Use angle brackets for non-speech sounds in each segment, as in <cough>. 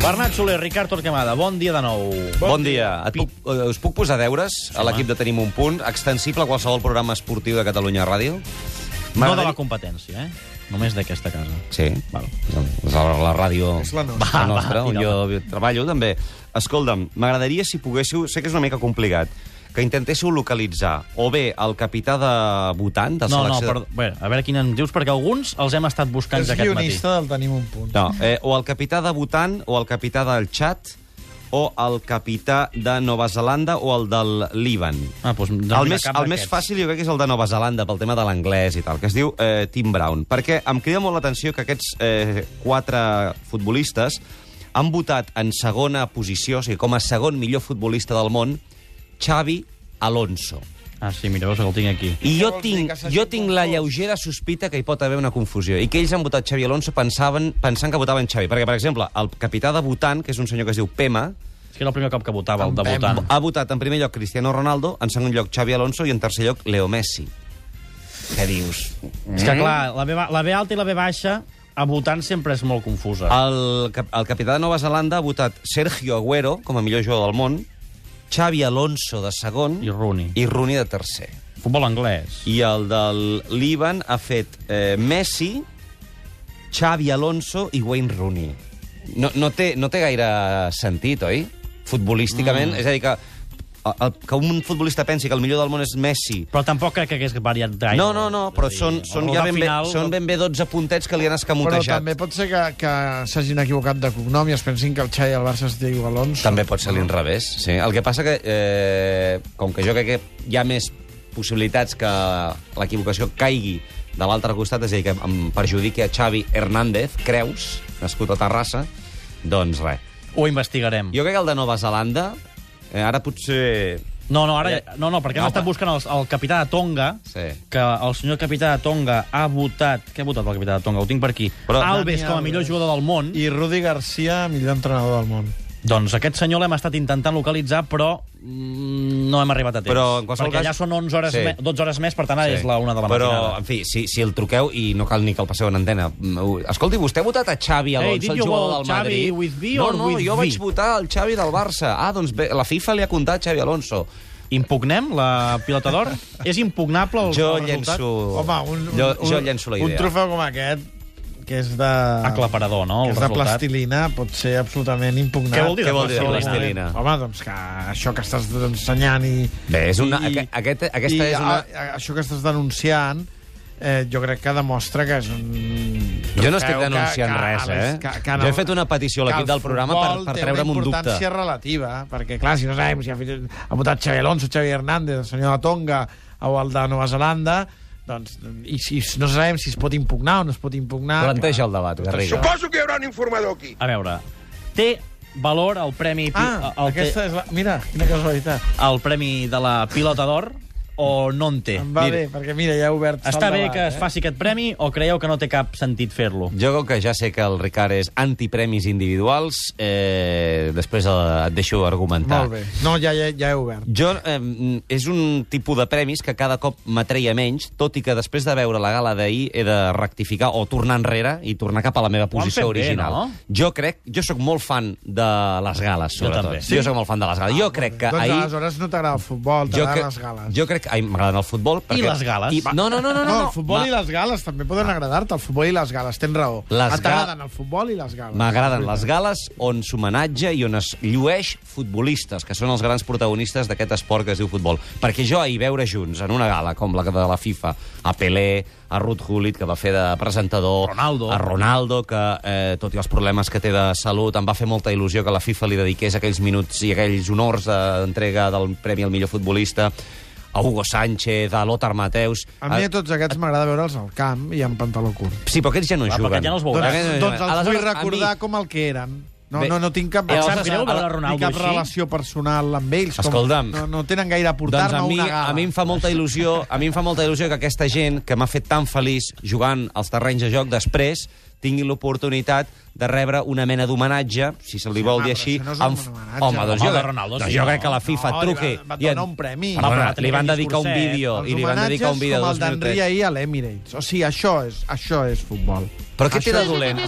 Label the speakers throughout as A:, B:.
A: Bernat Soler, Ricard Torquemada, bon dia de nou.
B: Bon dia. Et puc, eh, us puc posar deures a l'equip de Tenim un punt, extensible a qualsevol programa esportiu de Catalunya Ràdio?
A: No de la
B: M'agradaria-
A: competència, eh? Només d'aquesta casa.
B: Sí,
A: Val.
B: és la, la ràdio
C: És la nostra.
A: Va,
B: nostra
A: va,
B: on
A: i no.
B: jo treballo també. Escolta'm, m'agradaria si poguéssiu, sé que és una mica complicat, que intentéssiu localitzar o bé el capità de votant de
A: No, no,
B: selecció...
A: perdó. Bé, a veure quin em dius, perquè alguns els hem estat buscant
C: És
A: ja aquest matí.
C: guionista del Tenim un punt.
B: No, eh, o el capità de Bhutan, o el capità del Txat, o el capità de Nova Zelanda, o el del Líban.
A: Ah, doncs, doncs
B: el
A: mira,
B: més,
A: cap
B: el més
A: d'aquests.
B: fàcil jo crec que és el de Nova Zelanda, pel tema de l'anglès i tal, que es diu eh, Tim Brown. Perquè em crida molt l'atenció que aquests eh, quatre futbolistes han votat en segona posició, o sigui, com a segon millor futbolista del món, Xavi Alonso.
A: Ah, sí, mira, veus que el tinc aquí.
B: I
C: Això
B: jo
C: vol dir
B: tinc,
C: que s'hagin
B: jo tinc la
C: confós.
B: lleugera sospita que hi pot haver una confusió i que ells han votat Xavi Alonso pensaven, pensant que votaven Xavi. Perquè, per exemple, el capità de Bhutan, que és un senyor que es diu Pema,
A: És que era el primer cop que votava, el de
C: Em
A: votant.
B: ha votat en primer lloc Cristiano Ronaldo, en segon lloc Xavi Alonso i en tercer lloc Leo Messi. Què dius?
A: És
B: Mm.
A: que, clar, la B, ba- la B alta i la B baixa a votant sempre és molt confusa.
B: El, cap- el capità de Nova Zelanda ha votat Sergio Agüero com a millor jugador del món, Xavi Alonso de segon
A: I Rooney.
B: i Rooney de tercer.
A: Futbol anglès.
B: I el del Líban ha fet eh, Messi, Xavi Alonso i Wayne Rooney. No, no, té, no té gaire sentit, oi? Futbolísticament. Mm. És a dir, que, el, que un futbolista pensi que el millor del món és Messi...
A: Però tampoc crec que hagués variat gaire.
B: No, no, no, però
A: És a dir,
B: són,
A: el
B: són, ja ben bé,
A: resultat final-
B: són ben bé 12 puntets que li han
C: Però
B: escamotejat.
C: també pot ser que, que s'hagin equivocat de cognom i es pensin que el Xai al Barça es diu Alonso.
B: També pot ser l'inrevés, sí. El que passa que, eh, com que jo crec que hi ha més possibilitats que l'equivocació caigui de l'altre costat, és a dir, que em perjudiqui a Xavi Hernández, Creus, nascut a Terrassa, doncs res.
A: Ho investigarem.
B: Jo crec que el de Nova Zelanda, eh, ara potser...
A: No, no, ara... No, no, perquè
B: No,
A: hem estat
B: va.
A: buscant el, el capità de Tonga,
B: Sí.
A: que el senyor capità de Tonga ha votat... Què ha votat el capità de Tonga? Ho tinc per aquí.
B: Però-
A: Però, Alves,
C: Dani
A: com a millor
C: Alves.
A: jugador del món. I...
C: I Rudi Garcia, millor entrenador del món.
A: Doncs aquest senyor l'hem estat intentant localitzar, però mm, no hem arribat a temps.
B: Però, en qualsevol
A: perquè ja
B: cas-
A: són 11 hores
B: Sí.
A: sí. me, 12 hores més, per tant, ara sí. és la una de la
B: Però,
A: matinada.
B: en fi, si, si el truqueu, i no cal ni que el passeu en antena... mm, Escolti, vostè ha votat a Xavi
A: Hey,
B: Alonso,
A: did
B: el
A: you
B: jugador
A: vote
B: del Madrid?
A: Xavi with B
B: no,
A: or
B: no,
A: with
B: jo
A: V?
B: vaig votar el Xavi del Barça. Ah, doncs bé, la FIFA li ha comptat Xavi Alonso.
A: Impugnem la pilota
B: <laughs>
A: d'or? és impugnable el,
B: Jo
A: el resultat?
B: llenço...
C: Home, un, un,
B: jo, jo
C: un-
B: llenço la
C: Un
B: idea.
C: trofeu com aquest, que és de...
A: Aclaparador, no?
C: que
A: El
C: és de
A: resultat.
C: plastilina, pot ser absolutament impugnat.
A: Què vol dir
B: Què vol dir de
A: de
B: plastilina?
C: Home, doncs que això que estàs ensenyant i...
B: Bé, és una,
C: i-
B: I, aquest, aquesta
C: i
B: és una...
C: A, a, això que estàs denunciant, eh, jo crec que demostra que és un...
B: Jo no estic
C: que-
B: denunciant res, eh? Jo he fet una petició a l'equip
C: que el
B: del programa per-
C: futbol
B: per
C: té
B: treure'm
C: una
B: un dubte.
C: importància relativa, perquè, clar, si no sabem si ha, fet, ha votat Xavi Alonso, Xavi Hernández, el senyor de Tonga o el de Nova Zelanda, doncs, i si no sabem si es pot impugnar o no es pot impugnar...
B: Planteja
C: clar.
B: el debat, Garriga.
D: Suposo que hi haurà un informador aquí.
A: A veure, té valor el premi... pi-
C: Ah,
A: el, té-
C: aquesta és la... Mira, quina casualitat.
A: el premi de la pilota d'or o no en té?
C: Em va
A: Mira,
C: bé, perquè mira, ja he obert...
A: Està eh?
C: el
A: bé
C: debat, eh?
A: que es faci aquest premi o creieu que no té cap sentit fer-lo?
B: Jo com que ja sé que el Ricard és antipremis individuals, eh, després eh, et deixo argumentar.
C: Molt bé. No, ja, ja, ja he obert.
B: Jo, eh, és un tipus de premis que cada cop m'atreia menys, tot i que després de veure la gala d'ahir he de rectificar o tornar enrere i tornar cap a la meva
A: han
B: posició
A: fet bé,
B: original.
A: no?
B: Jo crec... Jo sóc molt fan de les gales,
A: Jo
B: sobretot.
A: també. Ah,
B: Jo sóc molt fan de les gales. jo crec que
C: doncs
B: ahir...
C: aleshores no t'agrada el futbol,
B: Jo,
C: t'agraden
B: que,
C: les gales.
B: jo crec que ai, m'agraden el futbol. Perquè...
A: les gales?
B: I, no, no, no, no,
C: No,
B: no,
C: el futbol i les gales també poden agradar-te, el futbol i les gales, tens raó.
B: Les ga-
C: Ah, T'agraden el futbol i les gales.
B: M'agraden les gales on s'homenatge i on es llueix futbolistes, que són els grans protagonistes d'aquest esport que es diu futbol. Perquè jo ahir veure junts en una gala com la de la FIFA a Pelé, a Ruth Gullit, que va fer de presentador,
A: Ronaldo.
B: a Ronaldo, que eh, tot i els problemes que té de salut, em va fer molta il·lusió que la FIFA li dediqués aquells minuts i aquells honors d'entrega del Premi al millor futbolista, a Hugo Sánchez, a Lothar Mateus...
C: A mi a tots aquests m'agrada veure'ls al camp i amb pantaló curt.
B: Sí, però aquests ja no
A: Clar,
B: juguen.
A: Ah, perquè ja no els veuràs.
B: Aquests no
C: Doncs, doncs
B: juguen.
C: els vull
B: Aleshores, a mi-
C: recordar com el que eren. No,
B: Bé.
C: no, no tinc cap,
B: Eh,
A: Sap
B: aleshores,
A: greu veure
B: a- a-
C: ni
A: Ronaldo
C: cap
A: així?
C: relació personal amb ells. Com,
B: Escolta'm.
C: no, no tenen gaire a
B: Doncs
C: portar-me
B: a mi,
C: una gala.
B: a mi em fa molta il·lusió, a mi em fa molta il·lusió que aquesta gent que m'ha fet tan feliç jugant als terrenys de joc després tinguin l'oportunitat de rebre una mena d'homenatge, si se li
C: Sí,
B: vol
C: home,
B: dir
C: però
B: així...
C: això no és un
B: amb-
C: homenatge.
B: Home,
A: Home,
B: doncs jo,
A: de Ronaldo,
B: doncs
A: sí,
B: jo
A: no.
B: crec que la FIFA
C: No, li
B: truque...
C: van- van
B: i en-
C: donar un premi.
B: Va,
A: Home,
B: li van
A: aquell
B: dedicar un
A: discurset,
B: vídeo i li van dedicar un vídeo de
C: Doncs com
B: dos
C: el d'Enri
B: minutets.
C: ahir a l'Emirates. O sigui, això és, això és futbol.
B: Però què té
C: Això
B: de
C: és-
B: dolent?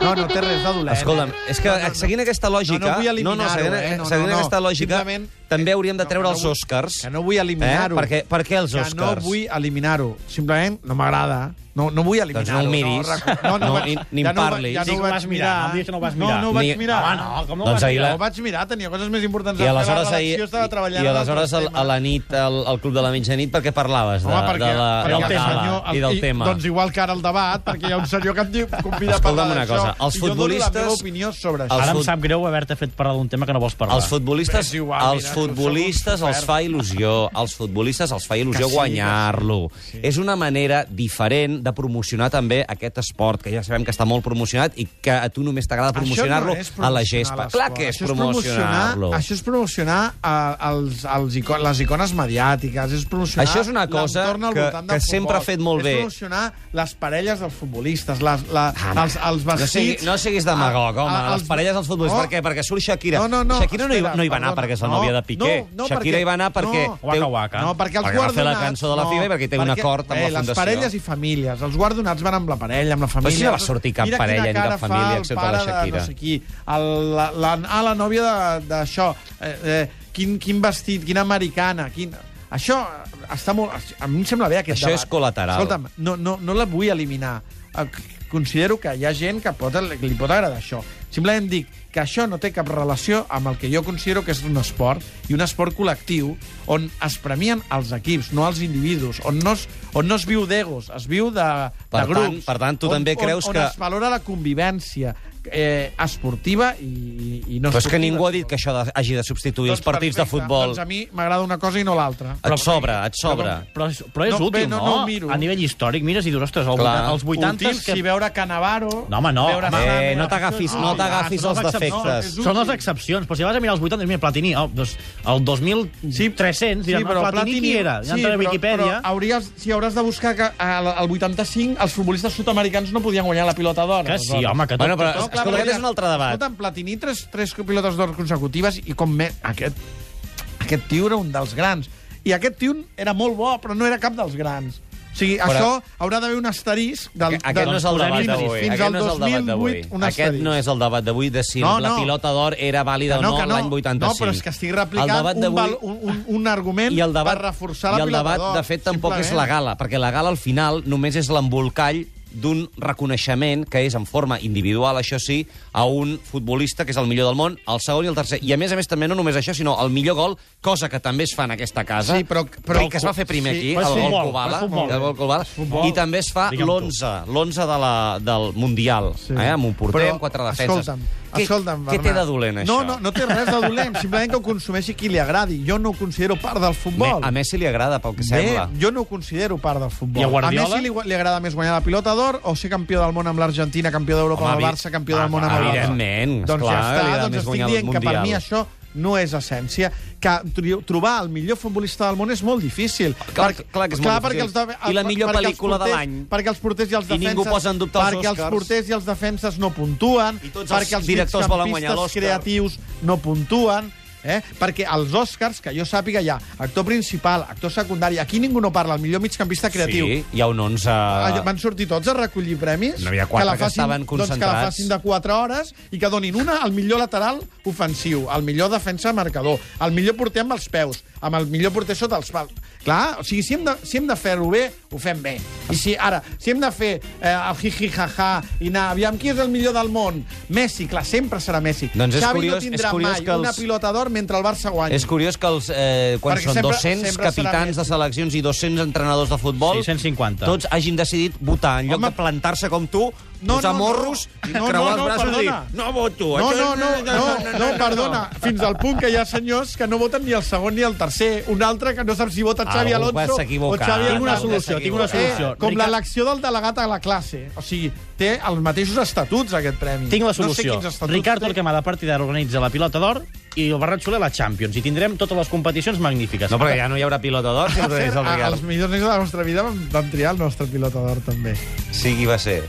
C: No, no té res de dolent.
B: Escolta'm, és que seguint aquesta lògica...
C: No, no vull eliminar-ho,
B: seguint,
C: eh? No, no,
B: seguint
C: no.
B: aquesta lògica,
C: Simplement- eh,
B: també hauríem de
C: No,
B: treure
C: no
B: els
C: vull-
B: Oscars.
C: Que no vull eliminar-ho.
B: Eh? Per què- per què els
C: Que no
B: Oscars?
C: vull eliminar-ho. Simplement no m'agrada. No, no vull eliminar-ho.
B: Doncs no ho miris.
C: recu-
B: No,
C: vaig-
B: ni- ni
C: ja
B: em
C: no ho va-
B: parlis.
C: Ja
B: Sí
A: que
C: no ho
A: ho
C: vaig
A: vas
C: mirar.
A: mirar, em dies que no ho vas mirar.
C: No, no ho vaig
B: Ni-
C: mirar.
A: Home, no, com no ho
B: Doncs
A: vas
B: ahir
A: mirar?
B: la-
C: Ho vaig mirar, tenia coses més importants.
B: I
C: a fer,
B: aleshores,
C: la
B: ahir,
C: redacció estava
B: i,
C: treballant
B: i
C: en
B: aleshores
C: altres
B: al, a
C: temes.
B: la nit al, al Club de la Mitjanit perquè parlaves de,
C: Home, perquè,
B: de la,
C: perquè
B: del
C: el
B: gala
C: senyor, el,
B: i del tema.
C: Doncs igual que ara el debat, perquè hi ha un senyor que em diu convida a
B: Escolta'm
C: parlar
B: una
C: d'això.
B: cosa, els
C: i Jo dono la
B: futbolistes-
C: meva opinió sobre
B: els
C: això.
A: Ara em
B: fut-
A: sap greu haver-te fet parlar d'un tema que no vols parlar.
B: Els futbolistes,
C: És igual,
B: els
C: mira,
B: futbolistes
C: som uns
B: els fa il·lusió, els futbolistes els fa il·lusió
C: Que sí,
B: guanyar-lo. Sí. És una manera diferent de promocionar també aquest esport, que ja sabem que està molt promocionat i que a tu només t'agrada
C: Això no
B: promocionar-lo
C: és
B: a la
C: promocionar
B: gespa.
C: l'esport,
B: Clar que és
C: això
B: promocionar-lo.
C: Això és promocionar eh, els, els ico les icones mediàtiques, és promocionar
B: Això és una cosa
C: l'entorn al
B: que-
C: voltant del
B: que sempre
C: futbol,
B: ha fet molt
C: és
B: bé. Ah,
C: És promocionar les parelles dels futbolistes, les, la,
B: Home,
C: els, els
B: No
C: vestits...
B: siguis, no siguis demagog, home.
C: a-
B: Els... Les parelles dels futbolistes, per què? Perquè surt Shakira.
C: No, no, no.
B: Shakira no hi, va-
C: espera,
B: no hi va anar
C: perdona.
B: perquè és la
C: No,
B: nòvia de Piqué.
C: No, no,
B: Shakira
C: perquè,
B: hi va anar perquè...
C: No,
A: Waka Waka.
C: no, perquè els
B: Perquè va fer la
C: guardonats...
B: cançó de la
C: no,
B: FIBA i perquè té un acord amb la
C: eh, Les
B: Fundació.
C: parelles i famílies. Els guardonats van amb la parella, amb la família.
B: si no va sortir cap
C: Mira quina
B: parella ni cap
C: cara fa
B: família,
C: el
B: excepte la
C: pare de
B: Shakira.
C: No sé qui. El, la, la, ah, la nòvia de- d'això. Eh, eh, quin, quin vestit, quina americana, quin... Això està molt... A mi em sembla bé aquest
B: Això
C: debat.
B: és col·lateral.
C: Escolta'm, no, no, no la vull eliminar. Eh, Considero que hi ha gent que, pot, que li pot agradar això. Simplement dic que això no té cap relació amb el que jo considero que és un esport i un esport col·lectiu on es premien els equips, no els individus, on no es, on no es viu d'egos, es viu de,
B: Per
C: de
B: tant-
C: grups.
B: per tant, tu
C: on,
B: també
C: on,
B: creus
C: on
B: que-
C: es valora la convivència eh, esportiva i, i, i no
B: Però és que
C: esportiva. Doncs
B: ningú ha dit que això de, hagi de substituir els partits de
C: perfecte.
B: futbol.
C: Doncs a mi m'agrada una cosa i no l'altra.
B: Et sobra, et sobra.
A: Però, és- però és
C: No,
A: útil,
C: bé, no,
A: no?
C: no ho miro.
A: A nivell històric, mires i dius, ostres, el,
B: Clar.
A: els 80
C: Útil, si veure Canavaro...
A: No, home, no.
C: Veure
A: Home,
C: Sami,
B: eh, no
C: la-
B: t'agafis- no
C: Hòstia,
B: t'agafis
C: són
B: els
C: els
B: defectes.
C: excepcions. És útil.
A: Són les excepcions, però si vas a mirar els 80, mira, Platini, oh, doncs, el 2300, sí, diràs, no, Platini, qui era? Ja
C: sí,
A: entra a
C: però-
A: Viquipèdia.
C: Però hauries, si hauràs de buscar que al, al 85 els futbolistes sud-americans no podien guanyar la pilota d'or.
A: Que sí, home, que tot...
B: Bueno, però-
A: tot-
B: Escolta, aquest és un altre debat.
C: Escolta, Platini, tres, tres pilotes d'or consecutives i com més... Aquest, aquest tio era un dels grans. I aquest tio era molt bo, però no era cap dels grans. O sigui,
B: Però-
C: això haurà d'haver un asterisc del,
B: Aquest
C: del-
B: no és el
A: posem
B: debat
A: fins-
B: d'avui.
C: fins
B: Aquest
C: al
B: no és el debat d'avui.
C: 2008, un
B: Aquest
C: asterisc.
B: no és el debat d'avui de si
C: No,
B: la
C: no.
B: pilota d'or era vàlida
C: Que
B: o
C: no,
B: no,
C: que no.
B: l'any 85.
C: No, però és que estic replicant
B: El debat
C: un, val,
B: d'avui-
C: un, un, un argument
B: i el debat,
C: per reforçar la
B: i el
C: pilota
B: debat,
C: d'or,
B: de fet, tampoc és la
C: simplement.
B: gala, perquè la gala, al final, només és l'embolcall d'un reconeixement que és en forma individual, això sí, a un futbolista que és el millor del món, el segon i el tercer. I, a més a més, també no només això, sinó el millor gol, cosa que també es fa en aquesta casa.
C: Sí, però- però-
B: el que es va fer primer
C: sí,
B: aquí,
A: però és
B: el gol
A: futbol,
B: Kubala,
A: és futbol.
B: el gol Kubala,
A: futbol.
B: i també es fa
A: Digue'm tu.
B: l'11, l'11 de la, del Mundial,
C: Sí.
B: eh, amb un porter,
C: Però,
B: amb quatre defenses.
C: Escolta'm,
B: què,
C: escolta'm,
B: què té
C: Bernat.
B: de dolent, això?
C: No, no, no té res de dolent, simplement que ho consumeixi qui li agradi. Jo no ho considero part del
B: Me,
C: futbol.
B: a Messi li agrada, pel que sembla.
C: Bé, jo no ho considero part del futbol.
A: I a Guardiola?
C: Messi li, li agrada més guanyar la pilota d'or o ser campió del món amb l'Argentina, campió d'Europa
B: Home,
C: amb el
B: evi-
C: Barça, campió
B: Ah,
C: del món amb el Barça?
B: evidentment, esclar,
C: Doncs
B: li
C: ja està,
B: agrada
C: doncs
B: més
C: estic
B: guanyar el
C: dient que per
B: Mundial.
C: mi això no és essència, que tr- trobar el millor futbolista del món és molt difícil.
B: Clar, clar que és molt
C: perquè
B: difícil.
C: els de-
B: I la millor
C: perquè els
B: pel·lícula de
C: porters-
B: l'any.
C: Perquè els porters i els
B: I
C: defenses...
B: ningú posa en dubte els
C: Perquè els
B: Oscars.
C: porters i els defenses no puntuen.
B: I tots els
C: perquè els
B: directors volen guanyar
C: migcampistes
B: l'Oscar.
C: creatius actrius no puntuen, eh? perquè als Oscars, que jo sàpiga, hi ha actor principal, actor secundari, aquí ningú no parla, el millor migcampista creatiu.
B: Sí, hi ha un 11...
C: Ah, Van sortir tots a recollir premis.
B: No, hi ha quatre que estaven
C: Doncs que la
B: concentrats.
C: facin de 4 hores i que donin una al millor lateral ofensiu, al millor defensa marcador, al millor porter amb els peus, amb el millor porter sota els pals. Clar, o sigui, si hem de, si hem de fer-ho bé, ho fem bé. I si ara, si hem de fer eh, el hi-hi-ha-ha i anar, aviam qui és el millor del món, Messi, clar, sempre serà Messi.
B: Doncs és
C: Xavi
B: curiós- és
C: no tindrà
B: curiós
C: mai
B: que els-
C: una pilota d'or mentre el Barça guanyi.
B: És curiós que els, eh, quan
C: Perquè
B: són
C: sempre-
B: 200
C: sempre serà
B: capitans
C: més.
B: de seleccions i 200 entrenadors de futbol,
A: Sí, 150.
B: tots hagin decidit votar en lloc
C: Home.
B: de plantar-se com tu,
C: No,
B: posar
C: no, no.
B: morros i
C: No, no,
B: creuar
C: no,
B: els braços
C: perdona.
B: i dir no voto.
C: No,
B: això
C: no,
B: és-
C: no, no, no, perdona. Fins al punt que hi ha senyors que no voten ni el segon ni el tercer. Un altre que no sap si vota Xavi
B: Algú
C: Alonso
B: s'ha
C: o
B: equivocat.
C: Xavi
A: Tinc una
B: Algú
C: Hernández. Eh,
A: solució, tinc una
B: s'ha equivocat.
A: solució.
C: com
A: Ricard-
C: l'elecció del delegat a la classe. O sigui, té els mateixos estatuts, aquest premi.
A: Tinc la
C: No sé
A: solució.
C: quins
A: No
C: estatuts
A: Ricard
C: té.
A: Torquemada, a partir d'ara, organitza la pilota d'or i el Bernat Soler la Champions. I tindrem totes les competicions magnífiques.
B: No, perquè ja no hi haurà pilota d'or, si
C: Per
B: no és
C: cert,
B: el
C: a-
B: Real.
C: als millors nens de la nostra vida vam, vam triar el nostre pilota d'or, també.
B: Sí, qui va ser?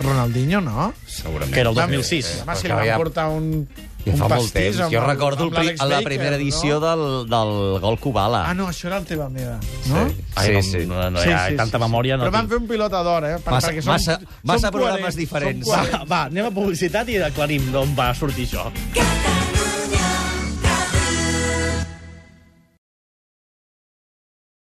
C: Ronaldinho, no? Eh,
D: Segurament.
A: Que era el 2006.
C: Home, si
B: Perquè
C: li van
B: ja-
C: portar un,
B: Ja
C: un
B: fa molt
C: pastís...
B: temps.
C: amb
B: Jo
C: el-
B: recordo
C: amb
B: el, pri-
C: l'Alex
B: la
C: Baker,
B: primera edició
C: No?
B: del, del gol Kubala.
C: Ah, no, això era el teva meva, no?
B: Sí.
A: Ai, no,
B: sí.
A: No, no, hi ha tanta memòria. No
C: Però van
A: tinc.
C: fer un pilota d'or, eh? Per,
B: Massa-
C: perquè som,
B: massa-
C: som
B: massa programes
C: coherents, som
B: diferents.
C: coherents.
A: Va, va, anem a publicitat i aclarim d'on va sortir això.
E: Cada